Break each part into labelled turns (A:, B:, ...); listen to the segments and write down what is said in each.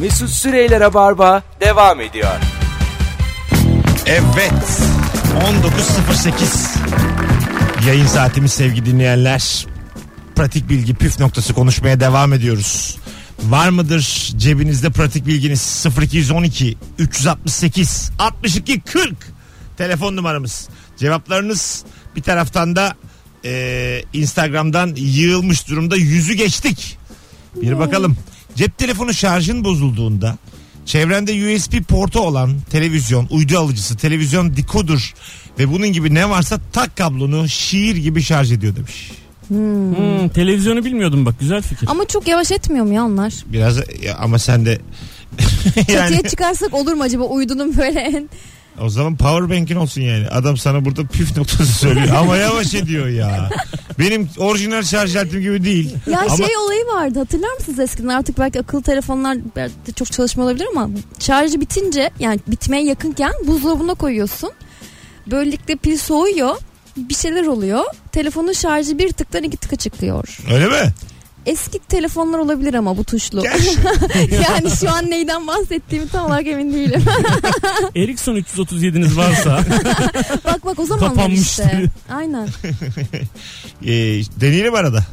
A: Mesut Süreyler'e barba devam ediyor.
B: Evet. 19.08 yayın saatimiz sevgili dinleyenler. Pratik bilgi püf noktası konuşmaya devam ediyoruz. Var mıdır cebinizde pratik bilginiz 0212 368 62 40 telefon numaramız. Cevaplarınız bir taraftan da e, Instagram'dan yığılmış durumda yüzü geçtik. Bir
C: Hmm.
B: bakalım. Cep telefonu şarjın bozulduğunda çevrende USB portu olan televizyon, uydu alıcısı, televizyon decoder ve bunun gibi ne varsa tak kablonu şiir gibi şarj ediyor demiş.
D: Hmm, televizyonu bilmiyordum bak güzel fikir.
C: Ama çok yavaş etmiyor mu ya onlar?
B: Biraz ya ama sen de yani
C: Çatıya çıkarsak olur mu acaba uydunun böyle en...
B: o zaman power bank'in olsun yani. Adam sana burada püf noktası söylüyor ama yavaş ediyor ya. Benim orijinal şarj aletim gibi değil.
C: Ya
B: ama
C: şey olayı vardı hatırlar mısınız eskiden artık belki akıllı telefonlar belki çok çalışma olabilir ama şarjı bitince yani bitmeye yakınken buzdolabına koyuyorsun. Böylelikle pil soğuyor bir şeyler oluyor. Telefonun şarjı bir tıktan iki tıka çıkıyor.
B: öyle mi?
C: Eski telefonlar olabilir ama bu tuşlu.
B: Gel şu-
C: yani şu an neyden bahsettiğimi tam olarak emin değilim.
D: Ericsson 337'niz varsa
C: bak bak o zamanlar
D: Kapanmış
C: işte.
D: diye.
C: Aynen.
B: e, deneyelim arada.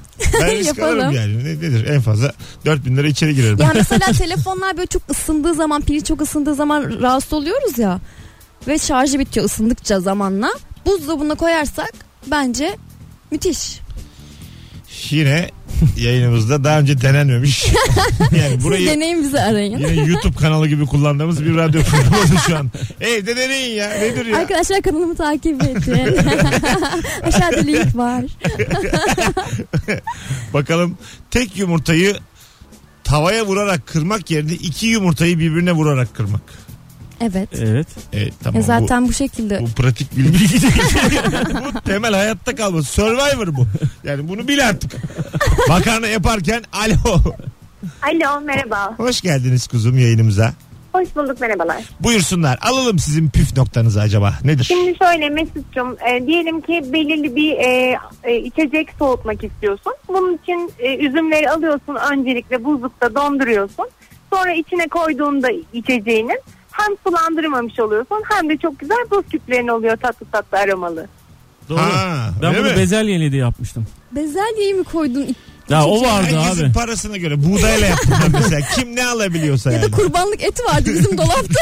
B: Ben risk
C: Yapalım.
B: alırım yani. Ne, nedir? En fazla 4000 lira içeri girerim.
C: Ya mesela telefonlar böyle çok ısındığı zaman pili çok ısındığı zaman rahatsız oluyoruz ya. Ve şarjı bitiyor ısındıkça zamanla. Buzdolabına koyarsak bence müthiş.
B: Yine yayınımızda daha önce denenmemiş. yani
C: Burayı...
B: burayı
C: Siz deneyin bizi arayın.
B: Yine YouTube kanalı gibi kullandığımız bir radyo programı oldu şu an. Evde deneyin ya. Nedir ya?
C: Arkadaşlar kanalımı takip edin. Aşağıda link var.
B: Bakalım tek yumurtayı tavaya vurarak kırmak yerine iki yumurtayı birbirine vurarak kırmak.
C: Evet.
D: evet.
B: Evet tamam.
C: Ya E, zaten Ee, bu, şekilde.
B: Bu, bu pratik bilgi. bu temel hayatta kalma. Survivor bu. Yani bunu bil artık. Makarna yaparken alo.
E: Alo merhaba.
B: Hoş geldiniz kuzum yayınımıza.
E: Hoş bulduk merhabalar.
B: Buyursunlar. Alalım sizin püf noktanızı acaba. Nedir?
E: Şimdi şöyle Mesut'cum e, diyelim ki belirli bir e, e, içecek soğutmak istiyorsun. Bunun için e, üzümleri alıyorsun öncelikle buzlukta donduruyorsun. Sonra içine koyduğunda içeceğinin hem sulandırmamış oluyorsun hem de çok güzel buz küplerin oluyor tatlı tatlı aromalı.
D: Doğru.
B: Ha,
D: ben
B: öyle
D: bunu
B: mi?
D: bezelyeyle de yapmıştım.
C: Bezelyeyi mi koydun?
D: Ya o vardı
B: Herkesin
D: abi.
B: parasına göre buğdayla yaptılar mesela. Kim ne alabiliyorsa
C: Ya da
B: yani.
C: kurbanlık eti vardı bizim dolapta.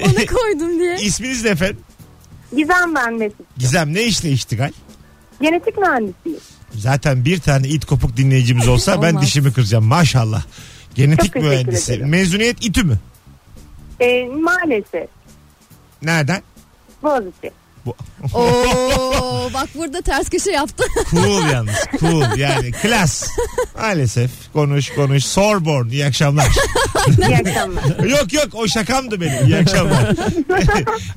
C: Onu koydum diye.
B: İsminiz ne efendim?
E: Gizem ben Mesut.
B: Gizem ne işle iştigal?
E: Genetik mühendisiyim.
B: Zaten bir tane it kopuk dinleyicimiz olsa ben
C: Olmaz.
B: dişimi kıracağım maşallah. Genetik
E: Çok teşekkür
B: mühendisi.
E: ederim.
B: Mezuniyet itü mü?
E: E, maalesef
B: Nereden?
E: Boğaziçi.
C: Oo, bak burada ters köşe yaptı.
B: Cool yalnız. Cool yani klas. Maalesef konuş konuş. Sorbon iyi akşamlar.
E: İyi akşamlar.
B: yok yok o şakamdı benim. İyi akşamlar.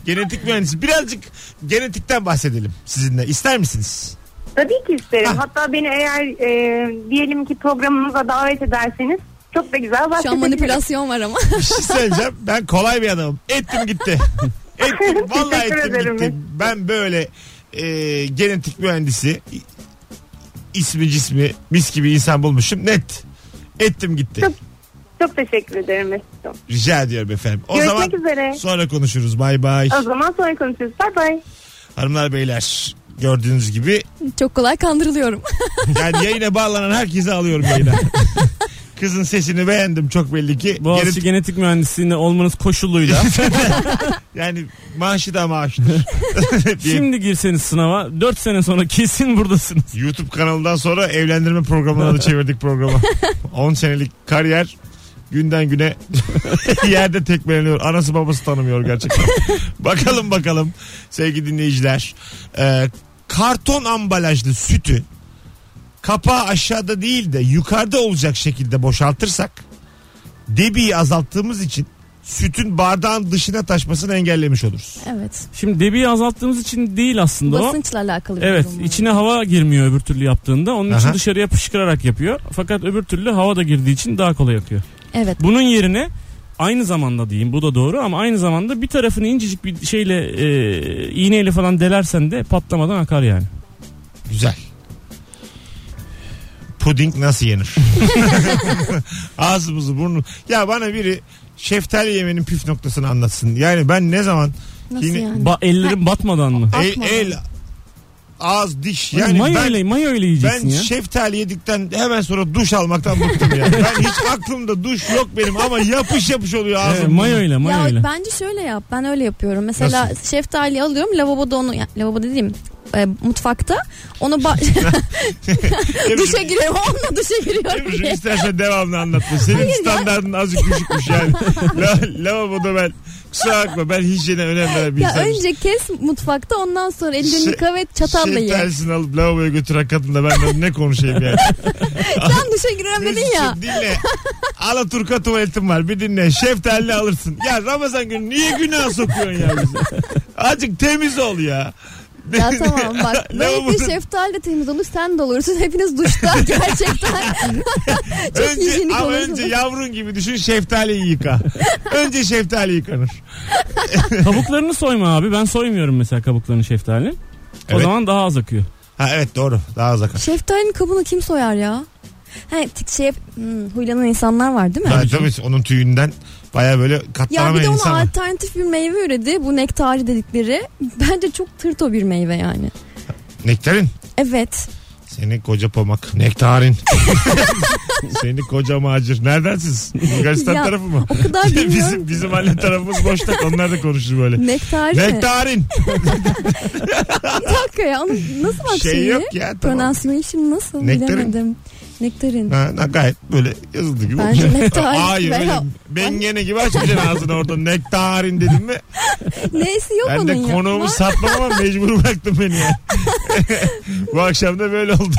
B: Genetik mühendisi. Birazcık genetikten bahsedelim sizinle. İster misiniz?
E: Tabii ki isterim.
B: Ha.
E: Hatta beni eğer e, diyelim ki programınıza davet ederseniz çok da güzel
C: Şu an
E: bahsedebilirim.
C: manipülasyon var ama.
B: Bir şey söyleyeceğim. Ben kolay bir adamım. Ettim gitti. Ettim. Vallahi
E: Teşekkür
B: ettim
E: ederim.
B: gitti. Ben böyle e, genetik mühendisi i- ismi cismi mis gibi insan bulmuşum. Net. Ettim gitti.
E: Çok- Çok teşekkür ederim Mesut'um.
B: Rica ediyorum efendim. O
E: Görüşmek
B: zaman
E: üzere.
B: sonra konuşuruz. Bay bay.
E: O zaman sonra konuşuruz. Bay bay.
B: Hanımlar beyler gördüğünüz gibi
C: Çok kolay kandırılıyorum.
B: yani yayına bağlanan herkesi alıyorum yayına. Kızın sesini beğendim çok belli ki.
D: Boğaziçi
B: Genetik-
D: Genetik Mühendisliğine olmanız koşuluyla
B: yani maaşı da maaştır. Diye
D: şimdi girseniz sınava 4 sene sonra kesin buradasınız.
B: YouTube kanalından sonra evlendirme programına da çevirdik programı. 10 senelik kariyer günden güne yerde tekmeleniyor. Anası babası tanımıyor gerçekten. bakalım bakalım sevgili dinleyiciler. Ee, karton ambalajlı sütü kapağı aşağıda değil de yukarıda olacak şekilde boşaltırsak debiyi azalttığımız için sütün bardağın dışına taşmasını engellemiş oluruz.
C: Evet.
D: Şimdi debiyi azalttığımız için değil aslında o.
C: Basınçla alakalı bir
D: Evet
C: durum var.
D: içine hava girmiyor öbür türlü yaptığında. Onun için
B: Aha.
D: dışarıya fışkırarak yapıyor. Fakat öbür türlü hava da girdiği için daha kolay akıyor.
C: Evet.
D: Bunun yerine aynı zamanda diyeyim bu da doğru ama aynı zamanda bir tarafını incecik bir şeyle e, iğneyle falan delersen de patlamadan akar yani.
B: Güzel. puding nasıl yenir? Ağzımızı burnu. Ya bana biri şeftali yemenin püf noktasını anlatsın. Yani ben ne zaman
C: Nasıl
B: Yine-
C: yani?
D: Ba- ellerin batmadan mı?
B: el,
C: Atmadan.
B: el, ağız, diş.
D: Yani
B: Yani
D: mayo
B: ben,
D: ile mayo ile
B: ben şey
D: yiyeceksin ya.
B: şeftali yedikten hemen sonra duş almaktan bıktım ya. ben hiç aklımda duş yok benim ama yapış yapış oluyor
D: Evet,
B: ağzım.
D: mayo ile mayo ile.
C: Ya bence şöyle yap. Ben öyle yapıyorum. Mesela şeftali alıyorum lavaboda onu yani lavabo dediğim e, mutfakta onu ba- duşa giriyorum. Onunla duşa giriyorum.
B: Ebru'cum
C: diye.
B: istersen devamlı anlatma. Senin
C: Hayır ya.
B: standartın azıcık düşükmüş yani. La, lavaboda ben kusura bakma ben hijyene önem veren bir
C: Ya
B: insanım.
C: önce kes mutfakta ondan sonra ellerini
B: Şey-
C: yıka ve çatalla
B: Şey
C: ye.
B: tersini alıp lavaboya götüren kadınla ben de ne konuşayım yani.
C: Sen duşa giriyorum dedin ya.
B: Mesut'cum dinle. Alaturka tuvaletim var bir dinle. Şeftali alırsın. Ya Ramazan günü niye günah sokuyorsun ya bizi? Azıcık temiz ol ya.
C: Ya tamam bak. Böylece
B: Lavaboda-
C: şeftali de temiz olur. Sen de olursun. Hepiniz duşta gerçekten. Çok
B: önce,
C: hijyenik
B: ama
C: olursun.
B: önce yavrun gibi düşün şeftaliyi yıka. önce şeftali yıkanır.
D: Kabuklarını soyma abi. Ben soymuyorum mesela kabuklarını şeftali. O
B: Evet.
D: zaman daha az akıyor.
B: Ha evet doğru. Daha az akar.
C: Şeftalinin kabuğunu kim soyar ya? He, tik şey hmm, huylanan insanlar var değil mi?
B: Tabii tabii onun tüyünden baya böyle
C: Ya bir
B: katlanamayan
C: de
B: insan
C: ona
B: var.
C: alternatif bir meyve üredi. Bu nektari dedikleri. Bence çok tırto bir meyve yani.
B: Nektarin.
C: Evet.
B: Seni koca pamak. Nektarin. Seni koca macir. Neredensiniz? Bulgaristan
C: Ya,
B: tarafı mı?
C: O kadar bilmiyorum.
B: bizim bizim anne tarafımız boşta. Onlar da konuşur böyle.
C: Nektar ne?
B: Nektarin.
C: Bir dakika ya. Onun nasıl bak
B: şey
C: şeyi?
B: yok ya. Tamam.
C: Pronunciation şimdi nasıl
B: Nektarin.
C: bilemedim. Nektarin.
B: Ha, ha, gayet böyle yazıldı gibi.
C: Bence
B: okuyacağım.
C: nektarin
B: Hayır öyle
C: veya-
B: bengene gibi açmayacaksın ağzını orada nektarin dedim mi?
C: Neyse yok
B: Ben
C: onun
B: de
C: ya.
B: konuğumu satmam ama mecbur bıraktım beni ya. Bu akşam da böyle oldu.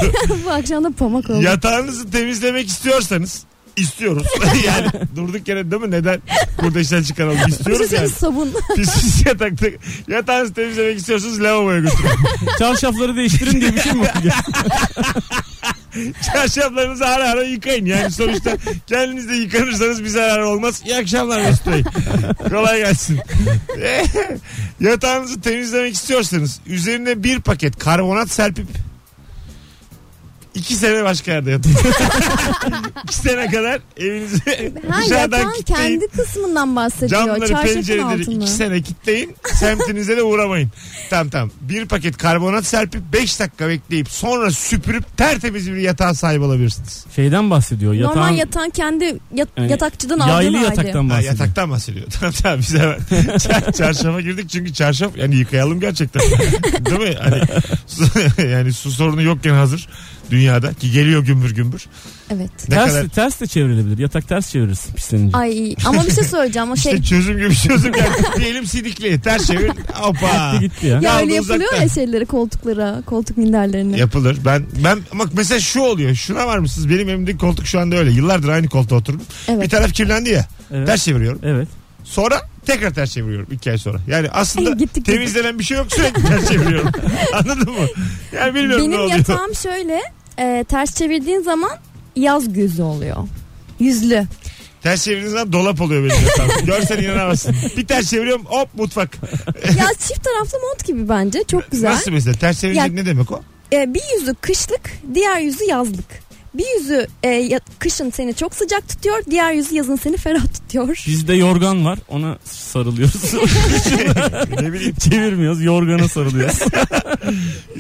C: Bu akşam da pamak oldu.
B: Yatağınızı temizlemek istiyorsanız istiyoruz. yani durduk yere değil mi? Neden burada işten çıkaralım?
C: Bir şey
B: İstiyoruz yani.
C: söyleyeyim, sabun.
B: Pis pis yatakta. Yatağınızı temizlemek istiyorsanız lavaboya götürün.
D: Çarşafları değiştirin diye bir şey mi okuyacak?
B: Çarşaflarınızı ara ara yıkayın. Yani sonuçta kendiniz de yıkanırsanız bir zarar olmaz. İyi akşamlar Mesut Bey. Kolay gelsin. Yatağınızı temizlemek istiyorsanız üzerine bir paket karbonat serpip iki sene başka yerde yatın. iki sene kadar evinizi
C: Ha,
B: dışarıdan
C: yatağın
B: kilitleyin.
C: kendi kısmından bahsediyor.
B: Camları
C: Çarşafın
B: pencereleri
C: altını.
B: iki sene kitleyin. Semtinize de uğramayın. Tamam tamam. Bir paket karbonat serpip 5 dakika bekleyip sonra süpürüp tertemiz bir yatağa sahip olabilirsiniz.
D: Şeyden bahsediyor. Yatağın,
C: Normal yatağın kendi yat-
D: Yani
C: yatakçıdan
D: yaylı
C: aldığı hali.
D: yataktan
B: Ha,
D: bahsediyor.
B: yataktan bahsediyor. Tamam tamam biz hemen çar- çarşafa girdik çünkü çarşaf yani yıkayalım gerçekten. Değil mi? Hani su- yani su sorunu yokken hazır dünyada ki geliyor gümbür gümbür.
C: Evet.
B: Ne
D: Ters,
B: kadar
D: ters de çevrilebilir. Yatak ters çevirirsin pislenince.
C: Ay ama bir şey söyleyeceğim. O şey
B: işte çözüm gibi çözüm geldi. Diyelim sidikli. Ters çevir. Hoppa.
D: Gitti gitti ya.
C: Ya
B: Kaldı
C: öyle yapılıyor
B: uzakta.
C: ya şeyleri koltuklara, koltuk minderlerine.
B: Yapılır. Ben ben bak mesela şu oluyor. Şuna var mısınız? Benim evimdeki koltuk şu anda öyle. Yıllardır aynı koltuğa oturdum. Bir
C: evet.
B: taraf kirlendi ya.
D: Evet.
B: Ters çeviriyorum.
D: Evet.
B: Sonra tekrar ters çeviriyorum iki ay sonra. Yani
C: Ay,
B: aslında
C: gittik gittik.
B: temizlenen bir şey yok sürekli ters çeviriyorum. Anladın mı? Yani bilmiyorum ne
C: Benim
B: oluyor.
C: yatağım şöyle e, ters çevirdiğin zaman yaz gözü oluyor. Yüzlü.
B: Ters çevirdiğiniz zaman dolap oluyor benim yatağım. Görsen inanamazsın. Bir ters çeviriyorum hop mutfak.
C: ya çift taraflı mont gibi bence çok güzel.
B: Nasıl mesela? Ters çevirecek
C: Ya-
B: ne demek o?
C: E, bir yüzü kışlık, diğer yüzü yazlık. Bir yüzü e, ya- kışın seni çok sıcak tutuyor, diğer yüzü yazın seni ferah tutuyor.
D: Bizde yorgan var. Ona sarılıyoruz.
B: ne bileyim.
D: Çevirmiyoruz. Yorgana sarılıyoruz.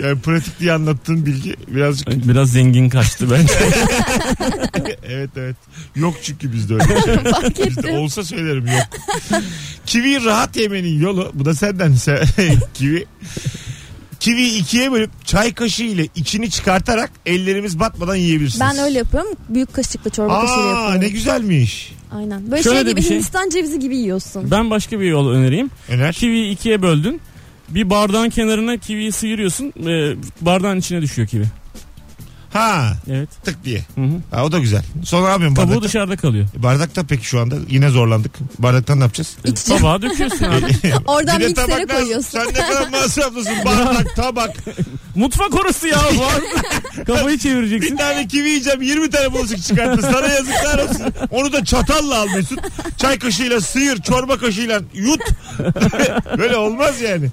B: Yani pratik diye anlattığın bilgi birazcık
D: Biraz zengin kaçtı bence.
B: evet evet. Yok çünkü bizde öyle bir şey.
C: Fark
B: Bizde
C: ettim.
B: olsa söylerim yok. kivi rahat yemenin yolu bu da senden sen, kivi. Kivi ikiye bölüp çay kaşığı ile içini çıkartarak ellerimiz batmadan yiyebilirsiniz.
C: Ben öyle yapıyorum. Büyük kaşıkla çorba kaşığı
B: Aa
C: yapıyorum.
B: ne güzelmiş.
C: Aynen. Böyle
D: Şöyle de
C: şey gibi
D: bir şey.
C: Hindistan cevizi gibi yiyorsun.
D: Ben başka bir yol önereyim.
B: Öner.
D: Kiviyi ikiye böldün. Bir bardağın kenarına kiviyi sıyırıyorsun. Ee, bardağın içine düşüyor kivi.
B: Ha
D: Evet.
B: tık diye.
D: Hı hı.
B: Ha, o da güzel. Sonra ne yapayım
D: Kabuğu
B: bardakta?
D: dışarıda kalıyor.
B: Bardakta peki şu anda yine zorlandık. Bardaktan ne yapacağız?
C: İçeceğim.
D: Tabağa döküyorsun abi.
C: Oradan
B: Bir de
C: miksere
B: tabak lazım.
C: koyuyorsun.
B: Sen ne kadar masraflısın. Bardak, tabak.
D: Mutfak orası ya bu arada. Kafayı
B: Bir
D: çevireceksin.
B: tane kivi yiyeceğim 20 tane bulaşık çıkarttı. Sana yazıklar olsun. Onu da çatalla al Mesut. Çay kaşığıyla sıyır, çorba kaşığıyla yut. Böyle olmaz yani.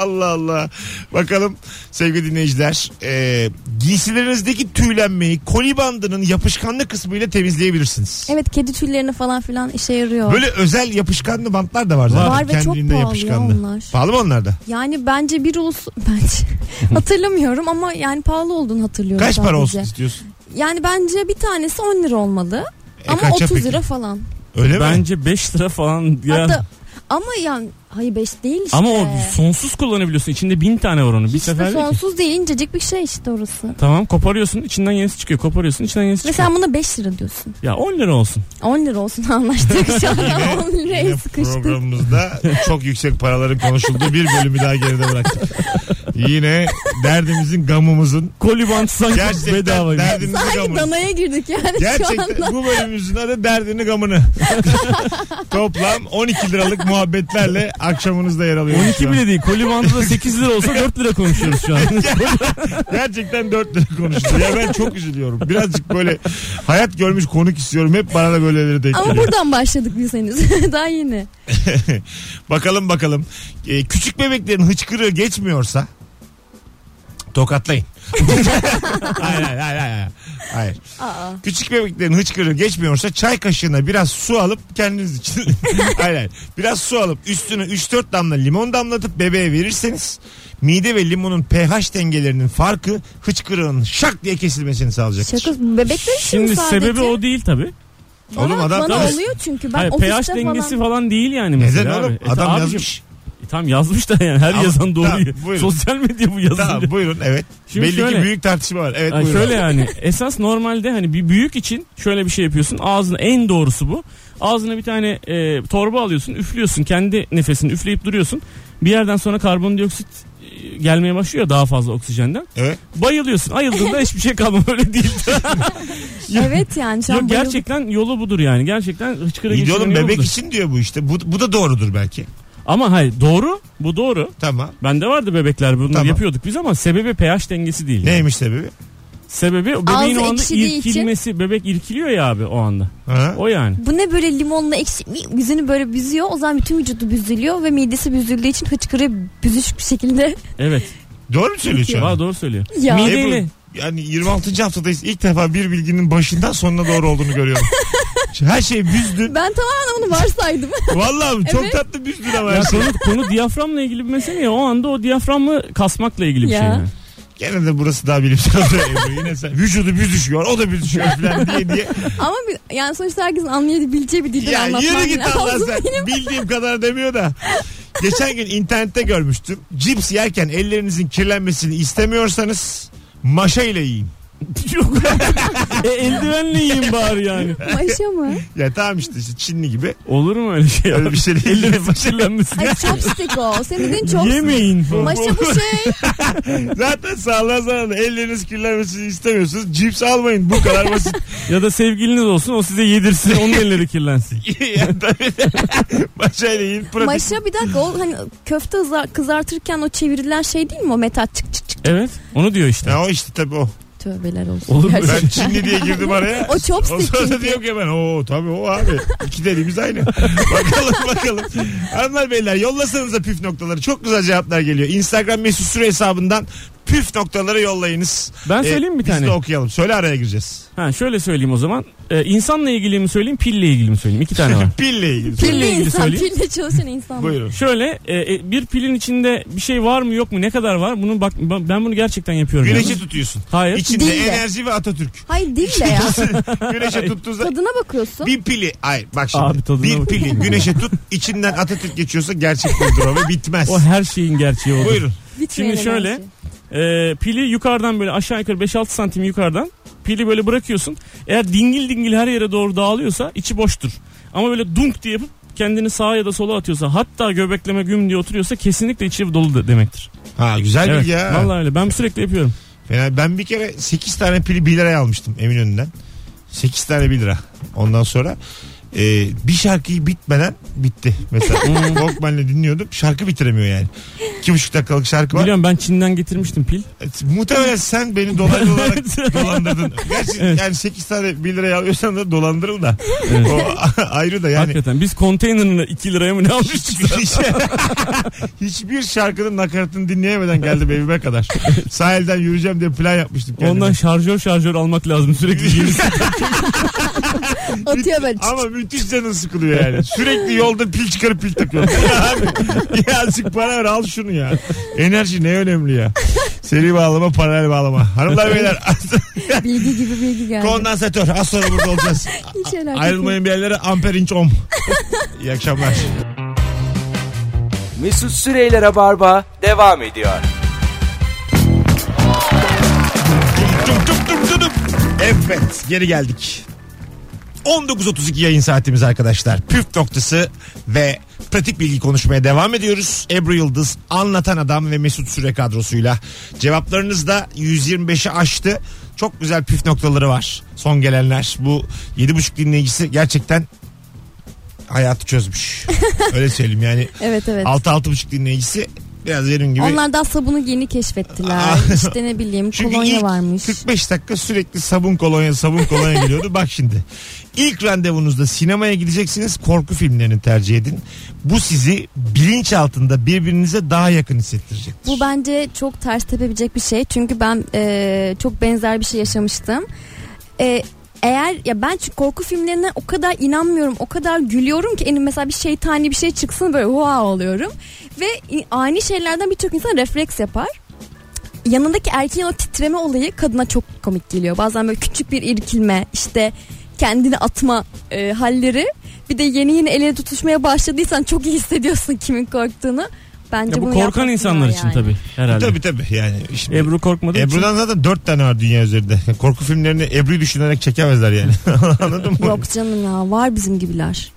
B: Allah Allah. Bakalım sevgili dinleyiciler. E, giysilerinizdeki tüylenmeyi koli bandının yapışkanlı kısmıyla temizleyebilirsiniz.
C: Evet kedi tüylerini falan filan işe yarıyor.
B: Böyle özel yapışkanlı bantlar da var zaten.
C: Var ve çok
B: Kendiliğinden
C: pahalı ya
B: yapışkanlı.
C: onlar.
B: Pahalı mı onlar da?
C: Yani bence bir olsun bence hatırlamıyorum ama yani pahalı olduğunu hatırlıyorum.
B: Kaç para
C: sadece.
B: olsun istiyorsun?
C: Yani bence bir tanesi 10 lira olmalı
B: E,
C: ama
B: kaça
C: 30
B: peki?
C: lira falan.
B: Öyle mi?
D: Bence 5 lira falan ya.
C: Hatta ama yani hayır 5 değil işte.
D: Ama o sonsuz kullanabiliyorsun. İçinde bin tane var onun. Bir
C: Hiç de
D: sefer
C: sonsuz değil incecik bir şey işte orası.
D: Tamam koparıyorsun içinden yenisi çıkıyor. Koparıyorsun içinden yenisi çıkıyor.
C: Mesela buna 5 lira diyorsun.
D: Ya 10 lira olsun.
C: 10 lira olsun anlaştık şu anda 10
B: Yine
C: liraya sıkıştık.
B: programımızda çok yüksek paraların konuşulduğu bir bölümü daha geride bıraktık. Yine derdimizin, gamımızın,
D: Kolibant sanki
B: gerçekten
D: bedava.
B: derdimizin
C: Sanki
B: gamını.
C: danaya girdik yani şu anda.
B: Gerçekten bu bölümümüzün adı derdini gamını. Toplam 12 liralık muhabbetlerle akşamınızda yer alıyor.
D: 12 bile değil. Kolibantı da 8 lira olsa 4 lira konuşuyoruz şu an.
C: E,
B: Gerçekten 4 lira konuştu. Ya ben çok üzülüyorum. Birazcık böyle hayat görmüş konuk istiyorum. Hep bana da böyleleri denk
C: Ama
B: geliyor.
C: buradan başladık biz henüz. Daha yeni.
B: Bakalım bakalım. Ee, küçük bebeklerin hıçkırığı geçmiyorsa tokatlayın. hayır, hayır, hayır, hayır. hayır.
C: Aa.
B: Küçük bebeklerin hıçkırığı geçmiyorsa çay kaşığına biraz su alıp kendiniz için. hayır, hayır. Biraz su alıp üstüne 3-4 damla limon damlatıp bebeğe verirseniz mide ve limonun pH dengelerinin farkı hıçkırığın şak diye kesilmesini sağlayacaktır.
C: Şaka bebekler için
D: Şimdi
C: sadece.
D: sebebi o değil tabi.
C: Bana,
B: Oğlum adam-
C: bana
B: Tamam.
C: oluyor çünkü ben
D: Hayır, pH
C: ofiste
D: dengesi
C: falan.
D: falan. değil yani mesela
B: Neden oğlum?
D: abi. E,
B: Adam
D: abicim,
B: yazmış.
D: e, tam yazmış da yani her
B: Ama-
D: yazan doğruyu.
B: Tamam, buyurun.
D: Sosyal medya bu yazınca.
B: Tamam buyurun evet.
D: Şimdi
B: Belli ki
D: şöyle-
B: büyük tartışma var. Evet
D: Yani
B: buyurun.
D: şöyle yani esas normalde hani bir büyük için şöyle bir şey yapıyorsun ağzına en doğrusu bu ağzına bir tane e, torba alıyorsun üflüyorsun kendi nefesini üfleyip duruyorsun bir yerden sonra karbondioksit e, gelmeye başlıyor daha fazla oksijenden
B: Evet.
D: bayılıyorsun ayıldığında hiçbir şey kalmıyor öyle değil
C: Evet yani şu
D: Yok,
C: an bayıldım.
D: gerçekten yolu budur yani gerçekten hıçkırık
B: İyi de
D: geçirmenin
B: oğlum
D: yolu
B: bebek
D: budur.
B: için diyor bu işte. Bu, bu da doğrudur belki.
D: ama hayır doğru bu doğru
B: Tamam.
D: bende vardı bebekler bunları
B: Tamam.
D: yapıyorduk biz ama sebebi pH dengesi değil yani.
B: Neymiş sebebi?
D: sebebi bebeğin
C: Ağzı
D: o anda
C: ekşidiği için-
D: irkilmesi bebek irkiliyor ya abi o anda
B: Ha?
D: o yani
C: Bu ne böyle limonla ekşi yüzünü böyle büzüyor. O zaman bütün vücudu büzülüyor ve midesi büzüldüğü için hıçkırığı büzüşük bir şekilde.
D: evet
B: Doğru mu söylüyor şu
D: Valla
B: an?
D: doğru söylüyor.
C: Ya.
D: Mideyle.
B: Ebru, yani 26. haftadayız. İlk defa bir bilginin başından sonuna doğru olduğunu görüyorum. Her şey büzdün.
C: Ben tamamen onu varsaydım.
B: Vallahi çok
C: Evet.
B: tatlı büzdün ama
D: Ya
B: her şey.
D: konu, konu diyaframla ilgili bir mesele ya. O anda o diyaframı kasmakla ilgili bir
C: Ya.
D: şey. Yani.
B: Gene de burası daha bilimsel. şey. Ebru. Yine sen vücudu büzüşüyor. O da büzüşüyor falan diye diye.
C: Ama bir, yani sonuçta herkesin anlayabileceği bir dilden
B: Ya
C: anlatmam
B: yürü git Allah
C: lazım.
B: sen. Bildiğim kadar demiyor da. Geçen gün internette görmüştüm. Cips yerken ellerinizin kirlenmesini istemiyorsanız maşa ile yiyin.
D: Yok. e, eldivenle yiyin bari yani.
C: Maşa mı?
B: Ya tamam işte, işte Çinli gibi.
D: Olur mu öyle şey?
B: Öyle bir şey değil.
D: Ellerin kirlenmesin.
C: Ay chopstick o. Senin en çok.
D: Yemeyin. falan.
C: Maşa bu şey.
B: Zaten sağlığa zararlı. Elleriniz kirlenmesini istemiyorsunuz. Cips almayın. Bu kadar basit.
D: Ya da sevgiliniz olsun o size yedirsin onun elleri kirlensin.
B: ya, tabii. maşa ile yiyin. Pratik.
C: Maşa bir dakika o hani köfte hızar- kızartırken o çevirilen şey değil mi o metal çık çık çık
D: Evet onu diyor işte.
B: Ya o işte tabii o.
C: tövbeler olsun.
D: Olur mu?
C: Gerçekten.
B: Ben Çinli diye girdim araya.
C: O
B: O
C: chopstick
B: sırada
C: çünkü.
B: diyorum ki ben o tabii o abi. İki dediğimiz aynı. bakalım bakalım. Hanımlar beyler yollasanıza püf noktaları. Çok güzel cevaplar geliyor. Instagram mesut süre hesabından püf noktaları yollayınız.
D: Ben
B: Ee,
D: söyleyeyim bir
B: Biz
D: tane.
B: de okuyalım. Söyle araya gireceğiz.
D: Ha, şöyle söyleyeyim o zaman. Ee, insanla ilgili mi söyleyeyim pille ilgili mi söyleyeyim? İki tane var.
B: Pille ilgili.
D: Pille
C: Pilli
D: ilgili
C: insan,
D: söyleyeyim.
C: pille çalışan insan.
B: Buyurun.
D: Şöyle e, e, bir pilin içinde bir şey var mı yok mu ne kadar var bunu bak ben bunu gerçekten yapıyorum.
B: Güneşi
D: yani.
B: tutuyorsun.
D: Hayır.
B: İçinde
C: Değil de.
B: enerji ve Atatürk.
C: Hayır değil de ya.
B: Güneşe tuttuğun zaman
C: Tadına bakıyorsun.
B: bir pili ay bak şimdi
D: Abi tadına
B: bir
D: bak.
B: pili güneşe tut içinden Atatürk geçiyorsa gerçek bir durum ve bitmez.
D: O her şeyin gerçeği olur.
B: Buyurun.
C: Bitmeyen
D: Şimdi şöyle,
C: enerji.
D: Ee, pili yukarıdan böyle aşağı yukarı 5-6 santim yukarıdan pili böyle bırakıyorsun. Eğer dingil dingil her yere doğru dağılıyorsa içi boştur. Ama böyle dunk diye yapıp kendini sağa ya da sola atıyorsa hatta göbekleme güm diye oturuyorsa kesinlikle içi dolu de- demektir.
B: Ha güzel
D: Evet.
B: bilgi ya.
D: Vallahi öyle. Ben sürekli yapıyorum.
B: Fena- ben bir kere 8 tane pili 1 liraya almıştım Eminönü'nden. 8 tane 1 lira. Ondan sonra e, bir şarkıyı bitmeden bitti. Mesela Walkman'le dinliyordum. Şarkı bitiremiyor yani. İki buçuk dakikalık şarkı var.
D: Biliyorum ben Çin'den getirmiştim pil.
B: Evet, Muhtemelen sen beni dolaylı olarak dolandırdın. Gerçi
D: Evet.
B: yani 8 tane 1 liraya alıyorsan da dolandırıl da. O ayrı da yani.
D: Hakikaten biz konteynerını 2 liraya mı ne almıştık?
B: Hiçbir, hiçbir şarkının nakaratını dinleyemeden geldim evime kadar. Sahilden yürüyeceğim diye plan yapmıştım kendime.
D: Ondan şarjör şarjör almak lazım sürekli yenisi.
C: Atıyor böyle.
B: Ama müthiş canın sıkılıyor yani. Sürekli yolda pil çıkarıp pil takıyorum. Ya abi ya azıcık para ver al şunu ya. Enerji ne önemli ya. Seri bağlama paralel bağlama. Hanımlar beyler
C: Bilgi gibi bilgi geldi.
B: kondansatör az sonra burada olacağız.
C: Hiç alakası
B: Ayrılmayın bir yerlere amper inç om. İyi akşamlar.
A: Mesut Süreyler'e barba devam ediyor.
B: Tum tum tum tum tum. Evet geri geldik. 19.32 yayın saatimiz arkadaşlar. Püf noktası ve pratik bilgi konuşmaya devam ediyoruz. Ebru Yıldız, Anlatan Adam ve Mesut Süre kadrosuyla. Cevaplarınız da 125'i aştı. Çok güzel püf noktaları var. Son gelenler. Bu 7.5 dinleyicisi gerçekten hayatı çözmüş. Öyle söyleyeyim yani.
C: Evet evet.
B: 6-6.5 dinleyicisi biraz benim gibi.
C: Onlar da sabunu yeni keşfettiler.
B: Aa.
C: işte ne bileyim kolonya
B: ilk
C: varmış.
B: 45 dakika sürekli sabun kolonya sabun kolonya geliyordu. Bak şimdi. İlk randevunuzda sinemaya gideceksiniz. Korku filmlerini tercih edin. Bu sizi bilinç altında birbirinize daha yakın hissettirecektir.
C: Bu bence çok ters tepebilecek bir şey. Çünkü ben e, çok benzer bir şey yaşamıştım. E, eğer ya ben çünkü korku filmlerine o kadar inanmıyorum. O kadar gülüyorum ki elim mesela bir şeytani bir şey çıksın böyle wow oluyorum. Ve in- ani şeylerden birçok insan refleks yapar. Yanındaki erkeğin o titreme olayı kadına çok komik geliyor. Bazen böyle küçük bir irkilme işte kendini atma e, halleri. Bir de yeni yeni el ele tutuşmaya başladıysan çok iyi hissediyorsun kimin korktuğunu. Bence
D: Ya bu
C: bunu
D: korkan
C: yapmasınlar
D: insanlar için
C: yani.
D: tabii herhalde.
B: Tabii tabii yani. Şimdi
D: Ebru korkmadı.
B: Ebru'dan zaten 4 tane var dünya üzerinde. Korku filmlerini Ebru'yu düşünerek çekemezler yani. Anladın mı?
C: Yok canım ya var bizim gibiler.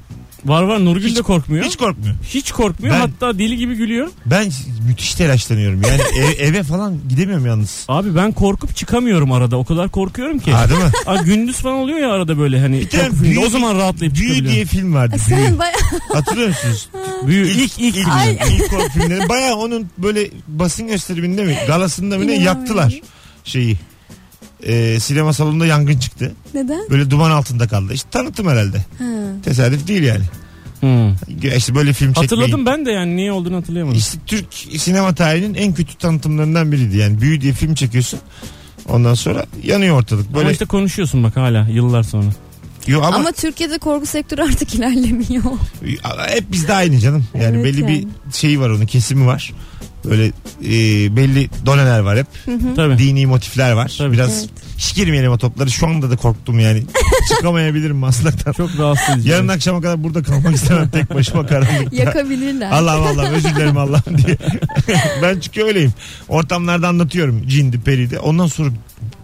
D: Var var Nurgül de korkmuyor.
B: Hiç
D: Hiç,
B: korkmuyor.
D: korkmuyor
B: Ben-
D: hatta deli gibi gülüyor.
B: Ben müthiş telaşlanıyorum. Yani ev- eve falan gidemiyorum yalnız.
D: Abi ben korkup çıkamıyorum arada o kadar korkuyorum ki.
B: Ha, değil mi?
D: Aa, gündüz falan oluyor ya arada böyle hani
B: tane
D: korku filmde.
B: büyü-
D: o zaman rahatlayıp
B: Büyü
D: çıkabiliyorum.
B: diye film vardı. Büyü.
C: E, Sen baya
B: Hatırlıyor musunuz?
D: Büyü ilk
B: İlk ilk ilk, ilk korku filmleri. Bayağı onun böyle basın gösteriminde mi galasında mı ne
C: İnanamıyorum.
B: yaktılar şeyi. Ee, sinema salonunda yangın çıktı.
C: neden?
B: Böyle duman altında kaldı. İşte tanıtım herhalde.
C: Ha.
B: Tesadüf değil yani.
D: Hmm.
B: İşte böyle film çekmeyi.
D: Hatırladım ben de yani niye olduğunu hatırlayamadım.
B: İşte Türk sinema tarihinin en kötü tanıtımlarından biriydi. Yani büyü diye film çekiyorsun. Ondan sonra yanıyor ortalık. Böyle
D: Ama işte konuşuyorsun bak hala yıllar sonra.
B: Yo ama,
C: Ama, Türkiye'de korku sektörü artık ilerlemiyor.
B: hep bizde aynı canım. Yani
C: Evet
B: belli
C: yani.
B: bir şeyi var onun kesimi var. Böyle e, belli doneler var hep.
D: Tabii.
B: dini motifler var.
D: Tabii.
B: Biraz
C: Evet.
B: hiç girmeyelim o topları. Şu anda da korktum yani. Çıkamayabilirim maslaktan.
D: Çok rahatsız edici.
B: Yarın akşama kadar burada kalmak istemem tek başıma karanlıkta.
C: Yakabilirler.
B: Allah'ım Allah'ım özür dilerim Allah'ım diye. ben çünkü öyleyim. Ortamlarda anlatıyorum cindi periydi. Ondan sonra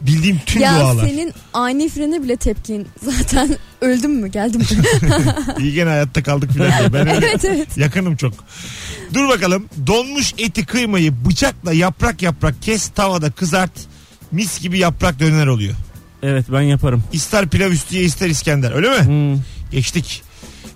B: bildiğim tüm
C: ya
B: dualar.
C: senin ani frene bile tepkin zaten öldüm mü geldim mi?
B: İyi gene hayatta kaldık filan diye. Ben öyle
C: evet evet.
B: yakınım çok. Dur bakalım. Donmuş eti kıymayı bıçakla yaprak yaprak kes tavada kızart. Mis gibi yaprak döner oluyor.
D: Evet ben yaparım.
B: İster pilav üstüye ister İskender öyle mi?
D: Hmm.
B: geçtik.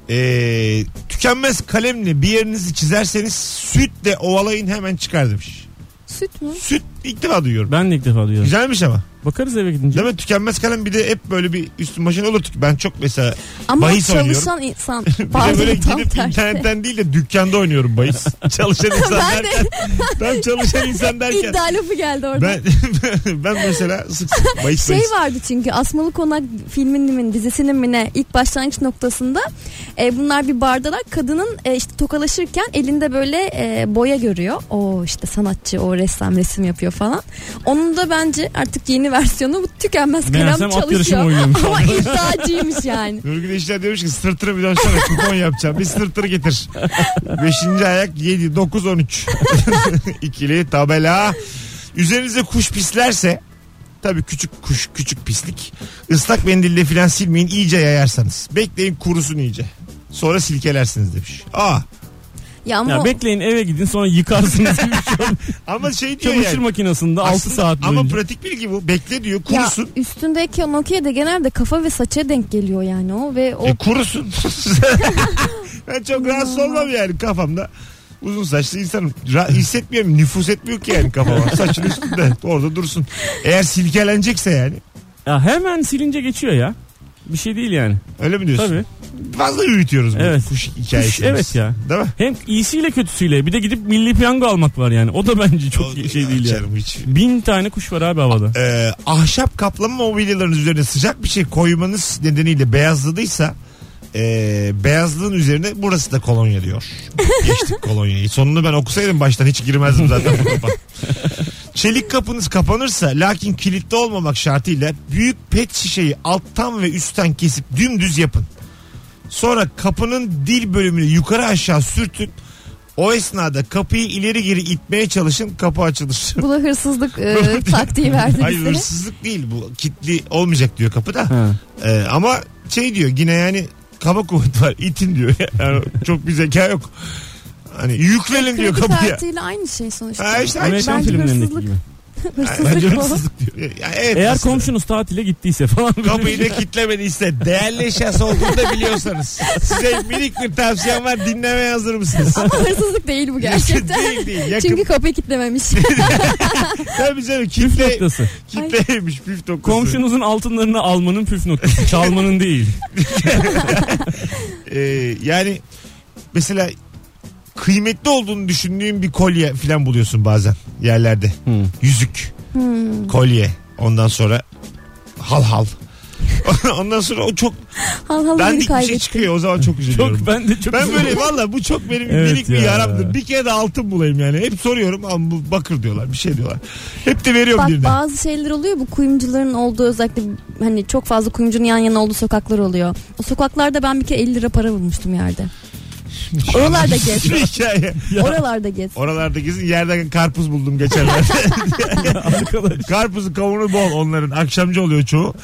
B: Ee, tükenmez kalemle bir yerinizi çizerseniz sütle ovalayın hemen çıkar demiş.
C: Süt mü?
B: Süt ilk defa duyuyorum.
D: Ben de ilk defa duyuyorum.
B: Güzelmiş ama.
D: Bakarız eve gidince.
B: Değil mi? Tükenmez kalem bir de hep böyle bir üstün başına olur. Ben çok mesela
C: Ama
B: bahis oynuyorum.
C: çalışan insan.
B: Bir de böyle
C: Pardon tam
B: gidip
C: tersi.
B: internetten değil de dükkanda oynuyorum bahis. çalışan insan derken. Tam çalışan insan derken.
C: İddia lafı geldi orada.
B: Ben, ben mesela sık sık bahis
C: şey
B: bahis.
C: vardı çünkü Asmalı Konak filminin mi dizisinin mi ne ilk başlangıç noktasında e, bunlar bir bardalar kadının e, işte tokalaşırken elinde böyle e, boya görüyor. O işte sanatçı o ressam resim yapıyor falan. Onun da bence artık yeni versiyonu bu tükenmez kalem
D: Meğersem at yarışına
C: çalışıyor.
D: oynuyormuş.
C: Ama iddiacıymış yani.
B: Nurgül Eşler demiş ki sırtını bir dönsene kupon yapacağım. Bir sırtını getir. Beşinci ayak 7, 9, 13. İkili tabela. Üzerinize kuş pislerse tabii küçük kuş küçük pislik. Islak mendille filan silmeyin iyice yayarsanız. Bekleyin kurusun iyice. Sonra silkelersiniz demiş. Aa
C: Ya ama
D: Ya
C: o-
D: bekleyin eve gidin sonra yıkarsınız gibi bir şey.
B: Ama şey diyor
D: Çamaşır
B: yani.
D: makinesinde 6
B: aslında-
D: saat
B: Ama
D: boyunca.
B: pratik bilgi bu. Bekle diyor.
C: ya
B: Kurusun.
C: üstündeki o Nokia da genelde kafa ve saça denk geliyor yani o ve o
B: E kurusun. ben çok rahatsız olmam yani kafamda. Uzun saçlı insanım. Ra- hissetmiyorum. Nüfus etmiyor ki yani kafama. Saçın üstünde. Orada dursun. Eğer silkelenecekse yani.
D: Ya hemen silince geçiyor ya. Bir şey değil yani.
B: Öyle mi diyorsun?
D: Tabii.
B: Fazla büyütüyoruz bu
D: Evet.
B: kuş hikayesini.
D: Kuş, evet ya.
B: Değil mi?
D: Hem iyisiyle kötüsüyle bir de gidip milli piyango almak var yani. O da bence çok
B: O-
D: şey değil yani.
B: Açarım hiç.
D: Bin tane kuş var abi havada.
B: Ee, ahşap kaplama mobilyaların üzerine sıcak bir şey koymanız nedeniyle beyazladıysa ee, beyazlığın üzerine burası da kolonya diyor. Geçtik kolonyayı. Sonunu ben okusaydım baştan hiç girmezdim zaten bu topa. Çelik kapınız kapanırsa lakin kilitli olmamak şartıyla büyük pet şişeyi alttan ve üstten kesip dümdüz yapın. Sonra kapının dil bölümünü yukarı aşağı sürtün. O esnada kapıyı ileri geri itmeye çalışın kapı açılır.
C: bu da hırsızlık e, taktiği verdi
B: Hayır
C: bize.
B: hırsızlık değil bu. Kitli olmayacak diyor kapıda.
D: Ha.
B: Ee, ama şey diyor yine yani kaba kuvvet var. itin diyor. Yani çok bir zeka yok. Hani yüklenin diyor
C: Kredi
B: kapıya.
C: kartıyla aynı şey sonuçta.
B: Ha işte aynı şey.
D: Amerikan
C: Bence
D: filmlerindeki
C: hırsızlık.
D: gibi.
B: Bence
C: Hırsızlık bu.
B: hırsızlık diyor. Ya evet,
D: Eğer
B: aslında.
D: komşunuz tatile gittiyse falan böyle. şey
B: Kapıyı da kitlemediyse değerli eşyası olduğunu da biliyorsanız size minik bir tavsiyem var dinlemeye hazır mısınız?
C: Ama hırsızlık değil bu gerçekten.
B: değil değil. Yakın,
C: Çünkü kapıyı kitlememiş.
B: tabii canım
D: Püf
B: kitle,
D: noktası.
B: kitleymiş püf noktası.
D: Komşunuzun altınlarını almanın püf noktası. Çalmanın değil.
B: Ee, yani mesela kıymetli olduğunu düşündüğün bir kolye falan buluyorsun bazen yerlerde.
D: Hı.
B: Yüzük,
C: Hmm.
B: kolye, ondan sonra hal hal. ondan sonra o çok
C: Hal hal beni
B: dandik bir
C: kaybettim.
B: şey çıkıyor. O zaman çok üzülüyorum.
D: Çok ben de çok
B: ben böyle valla bu çok benim
D: Evet
B: minik bir
D: ya.
B: yaramdır. Bir kere de altın bulayım yani. Hep soruyorum ama bu bakır diyorlar bir şey diyorlar. Hep de veriyorum
C: Bak
B: birine.
C: bazı şeyler oluyor bu kuyumcuların olduğu özellikle hani çok fazla kuyumcunun yan yana olduğu sokaklar oluyor. O sokaklarda ben bir kere 50 lira para bulmuştum yerde. Oralarda gez.
B: Hikaye.
C: Oralarda gez.
B: Oralarda gezin yerden karpuz buldum geçenlerde.
D: arkadaş.
B: Karpuzu kavunu bol onların. Akşamcı oluyor çoğu.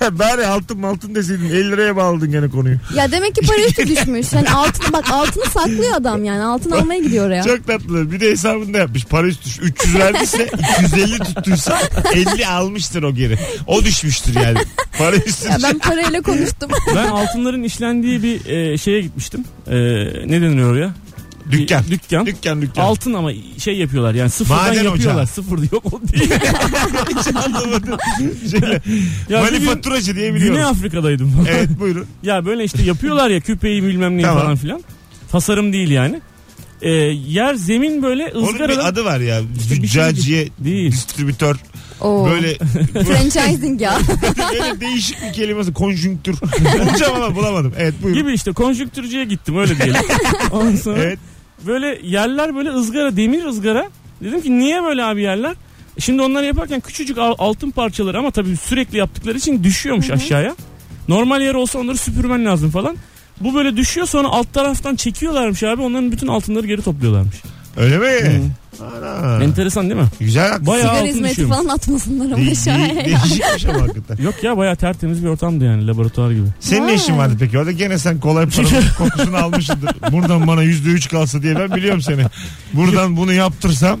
B: ya bari altın altın deseydin 50 liraya mı aldın gene konuyu?
C: Ya demek ki para üstü düşmüş. Hani altını bak altını saklıyor adam yani. Altını almaya gidiyor oraya.
B: Çok tatlı. Bir de hesabını da yapmış. Para üstü 300 verdiyse 250 tuttuysa 50 almıştır o geri. O düşmüştür yani. Para üstü.
C: Ya ben parayla konuştum.
D: Ben altınların işlendiği bir e, şeye gitmiştim. E, ne denir oraya? Bir
B: Dükkan.
D: Dükkan.
B: Dükkan dükkan.
D: Altın ama şey yapıyorlar yani sıfırdan
B: Maden
D: yapıyorlar.
B: ocağı.
D: Sıfır yok o değil.
B: Hiç anlamadım. Şöyle,
D: Ya bir gün
B: Manifaturacı diye biliyorum.
D: Güney Afrika'daydım. falan.
B: Evet buyurun.
D: Ya böyle işte yapıyorlar ya küpeyi bilmem neyi
B: Tamam.
D: falan filan. Tasarım değil yani. E, yer zemin böyle
B: Onun bir
D: ızgaradan
B: adı var ya.
D: İşte bir şey
B: Cacciye,
D: değil.
B: distribütör.
C: Oo.
B: Böyle
C: Franchising ya.
B: Öyle değişik bir kelimesi konjünktür. Bulacağım ama bulamadım. Evet buyurun.
D: gibi işte konjüktürcüye gittim öyle diyelim. Ondan sonra
B: Evet.
D: böyle yerler böyle ızgara demir ızgara. Dedim ki niye böyle abi yerler? Şimdi onları yaparken küçücük al- altın parçaları ama tabii sürekli yaptıkları için düşüyormuş aşağıya. Normal yer olsa onları süpürmen lazım falan. Bu böyle düşüyor sonra alt taraftan çekiyorlarmış abi onların bütün altınları geri topluyorlarmış.
B: Öyle mi? Ana.
D: Enteresan değil mi?
B: Güzel haklı.
D: Bayağı
C: Sigara
D: altın
C: hizmeti
D: düşüyormuş.
C: falan atmasınlar ama
B: De- de-
C: aşağıya.
B: değişikmiş ama şey hakikaten.
D: Yok ya bayağı tertemiz bir ortamdı yani laboratuvar gibi.
B: Senin ne işin vardı peki orada? Gene sen kolay paranın kokusunu almışsındır. Buradan bana yüzde üç kalsa diye ben biliyorum seni. Buradan bunu yaptırsam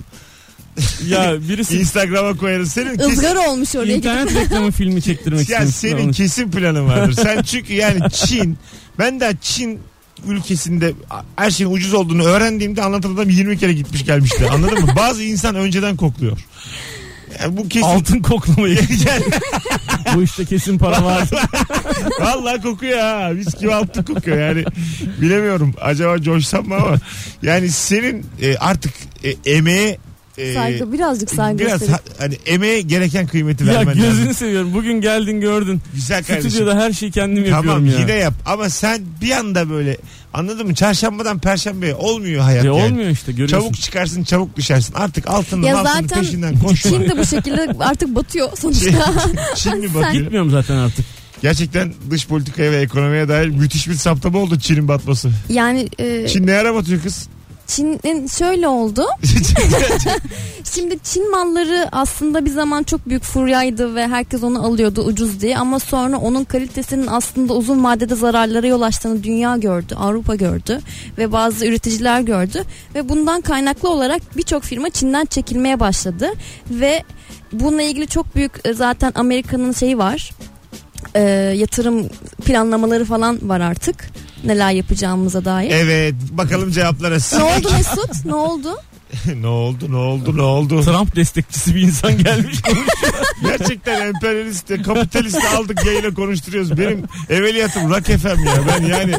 D: Ya birisi
B: Instagram'a koyarız. Senin kesin,
C: Izgara olmuş oraya gidip.
D: internet reklamı filmi çektirmek
B: yani
D: istemiş.
B: senin kesin planın vardır. Sen çünkü yani Çin ben de Çin ülkesinde her şeyin ucuz olduğunu öğrendiğimde anlatan adam 20 kere gitmiş gelmişti. Anladın mı? Bazı insan önceden kokluyor. Yani bu kesin
D: Altın koklamayı.
B: Yani
D: Bu işte kesin para var.
B: Vallahi kokuyor ha. Mis gibi altın kokuyor yani. Bilemiyorum. Acaba coşsam mı ama. Yani senin e, artık e, emeğe e,
C: Saygı birazcık saygı
B: biraz
C: gösterin.
B: ha- hani emeğe gereken kıymeti
D: ya
B: vermen lazım.
D: gözünü seviyorum. Bugün geldin gördün.
B: Güzel kardeşim.
D: Stüdyoda her şeyi kendim
B: Tamam
D: yapıyorum ya.
B: yine yap ama sen bir anda böyle anladın mı? Çarşambadan perşembeye olmuyor hayat
D: E,
B: yani.
D: olmuyor işte görüyorsun.
B: Çabuk çıkarsın çabuk düşersin. Artık altının
C: Ya
B: altının
C: zaten
B: peşinden koşma.
C: Çin de bu şekilde artık batıyor sonuçta.
B: Çinli batıyor.
D: Gitmiyorum zaten artık.
B: Gerçekten dış politikaya ve ekonomiye dair müthiş bir saptama oldu Çin'in batması.
C: yani e,
B: Çin ne ara batıyor kız?
C: Çin'in şöyle oldu. Şimdi Çin malları aslında bir zaman çok büyük furyaydı ve herkes onu alıyordu ucuz diye ama sonra onun kalitesinin aslında uzun vadede zararlara yol açtığını dünya gördü, Avrupa gördü ve bazı üreticiler gördü ve bundan kaynaklı olarak birçok firma Çin'den çekilmeye başladı ve bununla ilgili çok büyük e, zaten Amerika'nın şeyi var. E, yatırım planlamaları falan var artık. Neler yapacağımıza dair.
B: evet bakalım cevaplara.
C: Ne oldu Mesut? Ne oldu?
B: ne oldu ne oldu ne oldu?
D: Trump destekçisi bir insan gelmiş.
B: Gerçekten emperyalisti, kapitalisti aldık yayına konuşturuyoruz. Benim evveliyatım rock FM ya. Ben yani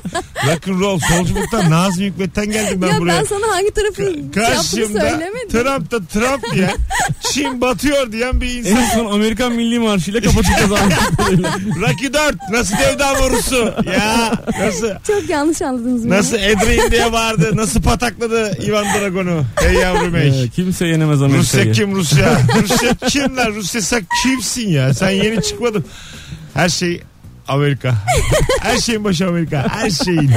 B: rock and roll, solculuktan, Nazım Hikmet'ten geldim ben
C: ya
B: buraya.
C: ben sana hangi tarafın şey yaptığını
B: Karşımda
C: söylemedim.
B: Trump da Trump diye Çin batıyor diyen bir insan.
D: en son Amerikan Milli Marşı'yla kapatacağız abi.
B: Rocky 4 nasıl devdan vurusu ya nasıl
C: Çok yanlış anladınız beni.
B: nasıl Edrein diye bağırdı nasıl patakladı Ivan Dragon'u hey yavrum
D: Ee,
B: hey.
D: Kimse yenemez
B: Rusya
D: Amerika'yı.
B: kim Rusya? Rusya kim lan? Rusya sen kimsin ya? Sen yeni çıkmadın. Her şey Amerika. Her şeyin başı Amerika. Her şeyin.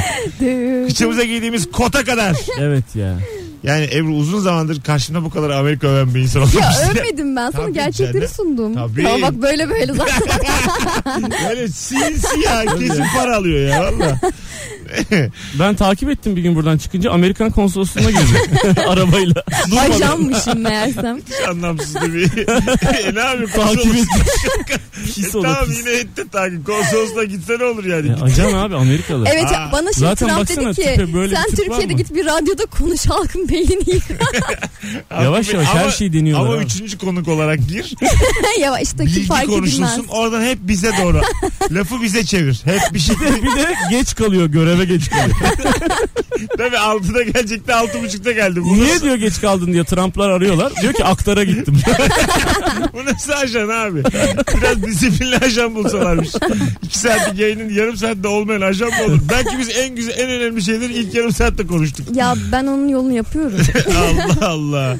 B: Kıçımıza giydiğimiz kota kadar.
D: Evet ya.
B: Yani Ebru uzun zamandır karşımda bu kadar Amerika öven bir insan olmuş.
C: Ya övmedim ben sana
B: Tabii
C: gerçekleri
B: canım.
C: sundum.
B: Tabii.
C: Ya bak böyle böyle zaten.
B: Böyle sinsi ya. Kesin para alıyor ya valla.
D: Ben takip ettim bir gün buradan çıkınca Amerikan konsolosluğuna girdim arabayla.
C: Ajanmışım meğersem.
B: Anlamsız bir. e, ne yapayım?
D: takip
B: Konsolos.
D: ettim.
B: E,
D: Pis olan
B: tamam
D: pis.
B: yine etti takip. Konsolosla gitse ne olur yani?
D: Ya ajan E, abi Amerikalı.
C: Evet
B: Aa,
C: bana şimdi
D: zaten
C: Trump
D: baksana
C: dedi
D: tipe
C: ki
D: böyle bir
C: sen
D: tip var
C: Türkiye'de
D: mı?"
C: git bir radyoda konuş halkın beynini yık.
D: Yavaş yavaş her şeyi deniyorlar.
B: Ama
D: abi.
B: üçüncü konuk olarak gir.
C: ya işte ki
B: bilgi
C: fark edilmez.
B: konuşulsun. Oradan hep bize doğru. Lafı bize çevir. Hep bir şey.
D: bir de geç kalıyor göreve geç kalıyor.
B: Tabii altıda gelecekti altı buçukta geldi. Bu
D: Niye
B: nasıl,
D: diyor geç kaldın diye Trump'lar arıyorlar. Diyor ki aktara gittim.
B: bu nasıl ajan abi? Biraz disiplinli ajan bulsalarmış. İki saatlik yayının yarım saatte olmayan ajan mı olur? Belki biz en güzel en önemli şeyleri ilk yarım saatte konuştuk.
C: Ya ben onun yolunu yapıyorum.
B: Allah Allah.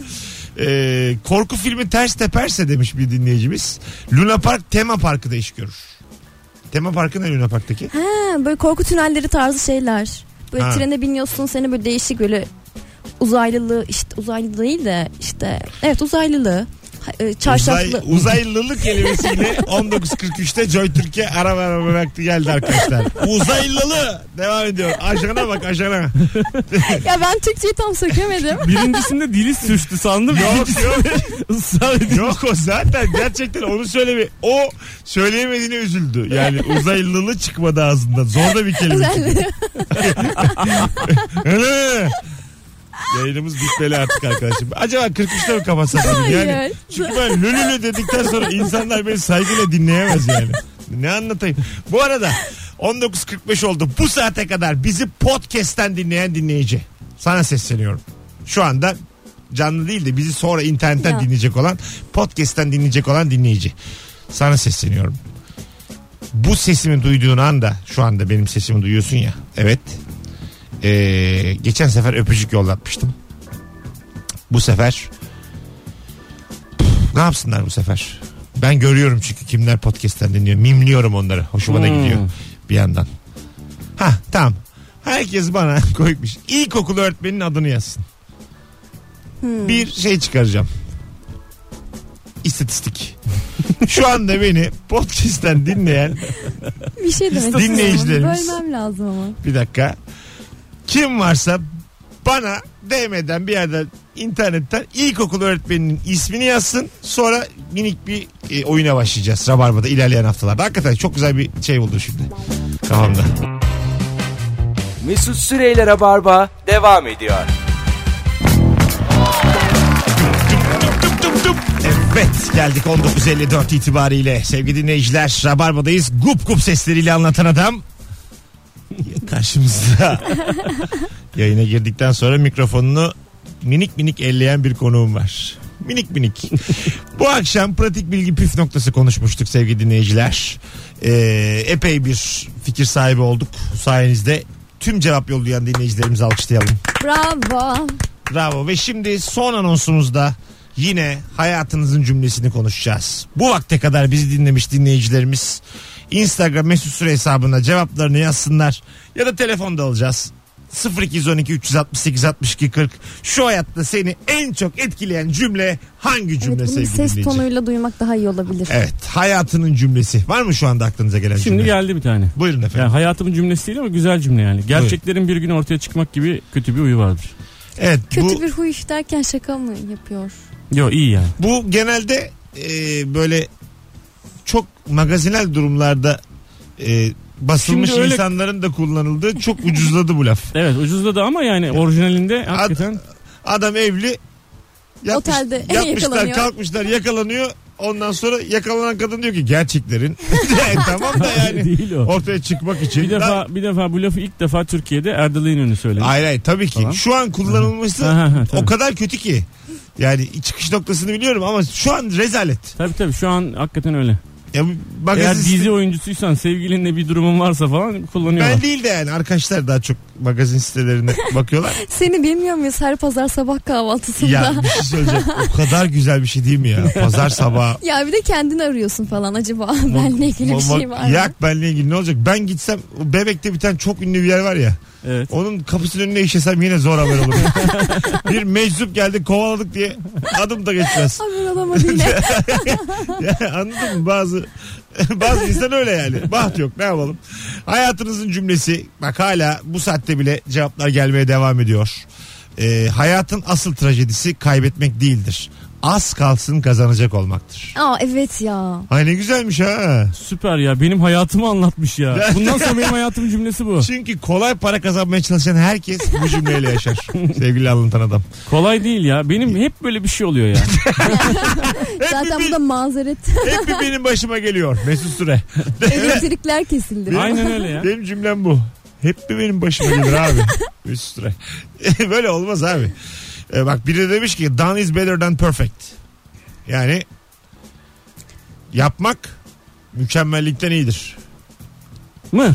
B: Ee, korku filmi ters teperse demiş bir dinleyicimiz. Luna Park tema parkı da iş görür. Tema parkı ne Luna Park'taki?
C: Ha, böyle korku tünelleri tarzı şeyler. Böyle
B: Ha.
C: trene biniyorsun seni böyle değişik böyle uzaylılı işte uzaylı değil de işte evet uzaylılı ha- e,
B: Uzay,
C: çarşaflı
B: uzaylılık kelimesiyle 19.43'te Joy Türkiye ara verme vakti geldi arkadaşlar. Uzaylılı devam ediyor. Ajana bak ajana.
C: ya ben Türkçeyi tam sökemedim
D: Birincisinde dili sürçtü sandım.
B: Yok yok
D: Israr ediyor.
B: yok o zaten gerçekten onu söyleme. O söyleyemediğine üzüldü. Yani uzaylılı çıkmadı ağzından. Zor da bir kelime. çünkü.
C: Özellikle.
B: Hı. Yayınımız bitmeli artık arkadaşım. Acaba 43'te mi kapatsak? dedim. Yani
C: Hayır.
B: çünkü ben lülülü dedikten sonra insanlar beni saygıyla dinleyemez yani. Ne anlatayım? Bu arada 19.45 oldu. Bu saate kadar bizi podcast'ten dinleyen dinleyici. Sana sesleniyorum. Şu anda canlı değil de bizi sonra internetten
C: Ya.
B: dinleyecek olan podcast'ten dinleyecek olan dinleyici. Sana sesleniyorum. Bu sesimi duyduğun anda şu anda benim sesimi duyuyorsun ya. Evet. Ee, geçen sefer öpücük yollatmıştım. Bu sefer ne yapsınlar bu sefer? Ben görüyorum çünkü kimler podcast'ten dinliyor. Mimliyorum onları. Hoşuma da
D: Hmm.
B: gidiyor bir yandan. Ha tamam. Herkes bana koymuş. İlkokul öğretmenin adını yazsın. Bir şey çıkaracağım. İstatistik. Şu anda beni podcast'ten dinleyen
C: bir şey demek istiyorum.
B: Dinleyicilerimiz.
C: Bölmem lazım ama.
B: bir dakika. Kim varsa bana DM'den bir yerden internetten ilkokul öğretmeninin ismini yazsın. Sonra minik bir e, oyuna başlayacağız. Rabarba'da ilerleyen haftalarda. Hakikaten çok güzel bir şey oldu şimdi. Kafamda.
A: Mesut Süreyler'e barba devam ediyor.
B: Dup dup dup. Evet geldik 19.54 itibariyle. Sevgili dinleyiciler Rabarba'dayız. Gup gup sesleriyle anlatan adam karşımızda. Yayına girdikten sonra mikrofonunu minik minik elleyen bir konuğum var. Minik minik. Bu akşam pratik bilgi püf noktası konuşmuştuk sevgili dinleyiciler. Ee, epey bir fikir sahibi olduk sayenizde. Tüm cevap yollayan dinleyicilerimizi alkışlayalım.
C: Bravo.
B: Bravo ve şimdi son anonsumuzda yine hayatınızın cümlesini konuşacağız. Bu vakte kadar bizi dinlemiş dinleyicilerimiz Instagram mesut süre hesabına cevaplarını yazsınlar ya da telefonda alacağız. 0212 368 62 40 şu hayatta seni en çok etkileyen cümle hangi cümle
C: Evet, bunu
B: sevgili
C: ses
B: dinleyici?
C: tonuyla duymak daha iyi olabilir.
B: Evet hayatının cümlesi var mı şu anda aklınıza gelen
D: Şimdi
B: cümle?
D: geldi bir tane.
B: Buyurun efendim.
D: Yani hayatımın cümlesi değil ama güzel cümle yani. Gerçeklerin bir gün ortaya çıkmak gibi kötü bir uyu vardır.
B: Evet
C: Kötü
B: bu,
C: bir huy derken şaka mı yapıyor?
D: Yo iyi yani.
B: bu genelde e, böyle çok magazinel durumlarda e, basılmış
D: Şimdi öyle-
B: insanların da kullanıldığı çok ucuzladı bu laf.
D: Evet ucuzladı ama yani orijinalinde hakikaten
B: Adam evli yapmış-
C: Otelde
B: yapmışlar
C: yakalanıyor.
B: kalkmışlar yakalanıyor ondan sonra yakalanan kadın diyor ki gerçeklerin Yani tamam da yani
D: değil o.
B: ortaya çıkmak için
D: Bir
B: Lan-
D: defa bir defa bu lafı ilk defa Türkiye'de Erdal İnönü söyledi.
B: hayır hayır tabii ki
D: Tamam.
B: şu an kullanılması
D: Aha, aha,
B: o
D: tabii.
B: kadar kötü ki yani çıkış noktasını biliyorum ama şu an rezalet
D: Tabii tabii şu an hakikaten öyle.
B: ya,
D: Eğer
B: magazin
D: dizi oyuncusuysan sevgilinle bir durumun varsa falan kullanıyorlar.
B: ben değil de yani arkadaşlar daha çok magazin sitelerine bakıyorlar
C: Seni bilmiyor muyuz her pazar sabah kahvaltısında?
B: ya
C: Ya.
B: bir şey söyleyeceğim o kadar güzel bir şey değil mi ya pazar sabahı
C: bir de kendini arıyorsun falan acaba benle ilgili bir şey var mı?
B: Yak benle ilgili ne olacak? Ben gitsem o Bebek'te bir tane çok ünlü bir yer var ya.
D: Evet.
B: Onun kapısının önüne işesem yine zor haber olur. bir meczup geldi kovaladık diye adım da geçmez.
C: Ay, ben olamadı yine.
B: Ya, Anladın mı? Bazı bazı insan öyle yani. Baht yok ne yapalım. Hayatınızın cümlesi bak hala bu saatte bile cevaplar gelmeye devam ediyor. Ee, hayatın asıl trajedisi kaybetmek değildir. Az kalsın kazanacak olmaktır.
C: Aa evet ya.
B: Ay ne güzelmiş ha.
D: Süper ya benim hayatımı anlatmış ya. Bundan sonra benim hayatım cümlesi bu.
B: Çünkü kolay para kazanmaya çalışan herkes bu cümleyle yaşar. Sevgili anlatan adam.
D: Kolay değil ya. Benim hep böyle bir şey oluyor ya.
C: Zaten bu da mazeret.
B: Hep bir benim başıma geliyor Mesut Süre.
C: Elektrikler kesildi.
D: Aynen öyle ya.
B: Benim cümlem bu. Hep bir benim başıma gelir abi. Mesut Süre. Böyle olmaz abi. Ee, bak biri demiş ki done is better than perfect. Yani yapmak mükemmellikten iyidir.
D: Mı?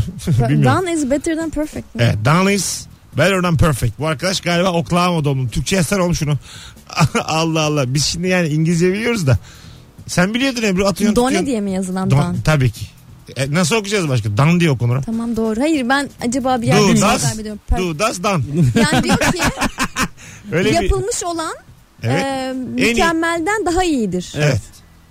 B: Bilmiyorum.
C: Done is better than perfect. mi?
B: Evet, done is better than perfect. Bu arkadaş galiba Oklahoma doğumlu. Türkçe yazsana oğlum şunu. Allah Allah. Biz şimdi yani İngilizce biliyoruz da. Sen biliyordun Ebru atıyorsun. tutuyorsun.
C: Done diye mi yazılan
B: Don-
C: done?
B: tabii ki. E, nasıl okuyacağız başka? Dan diye okunur.
C: Tamam doğru. Hayır ben acaba bir
B: Do,
C: yerde mi
B: das,
C: kaybediyorum? Per-
B: Do, das, dan.
C: Yani diyor ki
B: Öyle bir...
C: yapılmış olan
B: Evet.
C: e, mükemmelden daha iyidir.
B: evet.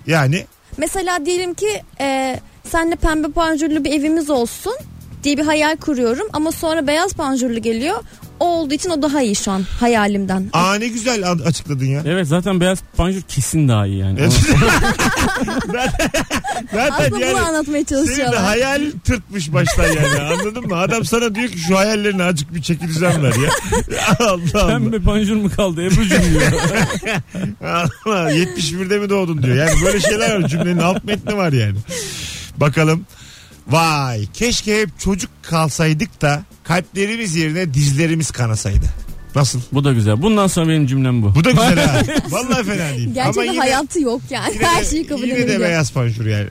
B: Yani
C: Mesela diyelim ki e, senle pembe panjurlu bir evimiz olsun diye bir hayal kuruyorum ama sonra beyaz panjurlu geliyor. O olduğu için o daha iyi şu an hayalimden.
B: aa ne güzel a- açıkladın ya.
D: Evet zaten beyaz panjur kesin daha iyi yani.
B: Evet. zaten zaten
C: Aslında bunu
B: yani
C: anlatmaya
B: senin de
C: çalışıyorlar.
B: hayal tırtmış baştan yani anladın mı? Adam sana diyor ki şu hayallerine azıcık bir çeki düzen ver ya. Allah Allah.
D: Pembe panjur mu kaldı Ebru'cum diyor.
B: Allah 71'de mi doğdun diyor. Yani böyle şeyler var cümlenin alt metni var yani. Bakalım. Vay keşke hep çocuk kalsaydık da kalplerimiz yerine dizlerimiz kanasaydı. Nasıl?
D: Bu da güzel. Bundan sonra benim cümlem bu.
B: Bu da güzel ha. Vallahi fena değil. Ama
C: Gerçekten
B: yine-
C: hayatı yok yani.
B: yine de-
C: Her şeyi kabul
B: Yine de
C: edebiliyor.
B: beyaz panjur yani.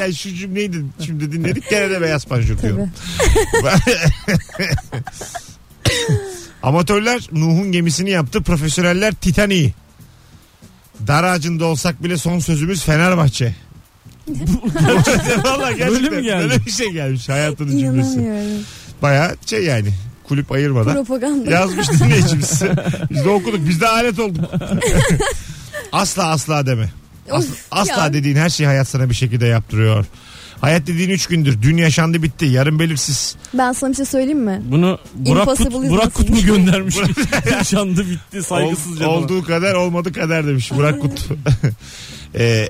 B: yani şu cümleyi de şimdi dinledik gene de beyaz panjur diyorum.
C: Tabii.
B: Amatörler Nuh'un gemisini yaptı. Profesyoneller Titanic'i. Dar ağacında olsak bile son sözümüz Fenerbahçe. Valla gerçekten
D: Böyle mi geldi?
B: böyle bir şey gelmiş hayatının cümlesi.
C: İnanamıyorum.
B: Baya şey yani kulüp ayırmadan
C: Propaganda.
B: yazmış dinleyicimiz. Biz de okuduk biz de alet olduk. asla asla deme. Asla,
C: Of,
B: asla
C: ya.
B: dediğin her şeyi hayat sana bir şekilde yaptırıyor. Hayat dediğin üç gündür. Dün yaşandı bitti. Yarın belirsiz.
C: Ben sana bir şey söyleyeyim mi?
D: Bunu Burak Kut,
C: Impossible is
D: Burak Kut mu
C: nothing.
D: göndermiş? Yaşandı bitti saygısızca.
B: Ol-
D: falan.
B: olduğu kadar olmadı kadar demiş Burak Kut. Ee,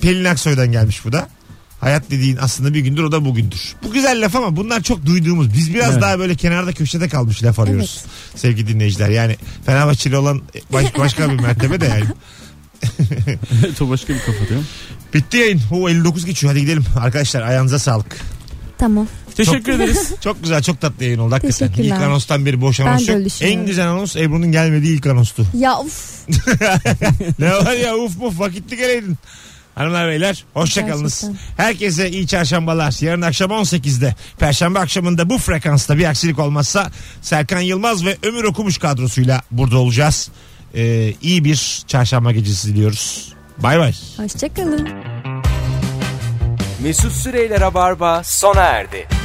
B: Pelin Aksoy'dan gelmiş bu da. Hayat dediğin aslında bir gündür o da bugündür. Bu güzel laf ama bunlar çok duyduğumuz. Biz biraz
D: Evet.
B: daha böyle kenarda köşede kalmış laf arıyoruz. Sevgili dinleyiciler yani Fenerbahçeli olan baş- başka bir mertebe de yani.
D: Çok başka bir kapatıyorum.
B: Bitti yayın. O 59 geçiyor hadi gidelim. Arkadaşlar ayağınıza sağlık.
C: Tamam.
D: Teşekkür ederiz.
B: Çok güzel çok tatlı yayın oldu hakikaten. İlk
C: Teşekkürler.
B: anonstan beri boş
C: Ben
B: anons
C: de
B: yok.
C: öyle düşünüyorum.
B: En güzel anons Ebru'nun gelmediği ilk anonstu.
C: Ya of.
B: ne var ya uf muf vakitli geleydin. Hanımlar beyler hoşçakalınız.
C: Gerçekten.
B: Herkese iyi çarşambalar. Yarın akşam 18'de Perşembe akşamında bu frekansta bir aksilik olmazsa Serkan Yılmaz ve Ömür Okumuş kadrosuyla burada olacağız. Ee, iyi bir çarşamba gecesi diliyoruz. Bay bay.
C: Hoşçakalın.
A: Mesut Süreyler'e barba sona erdi.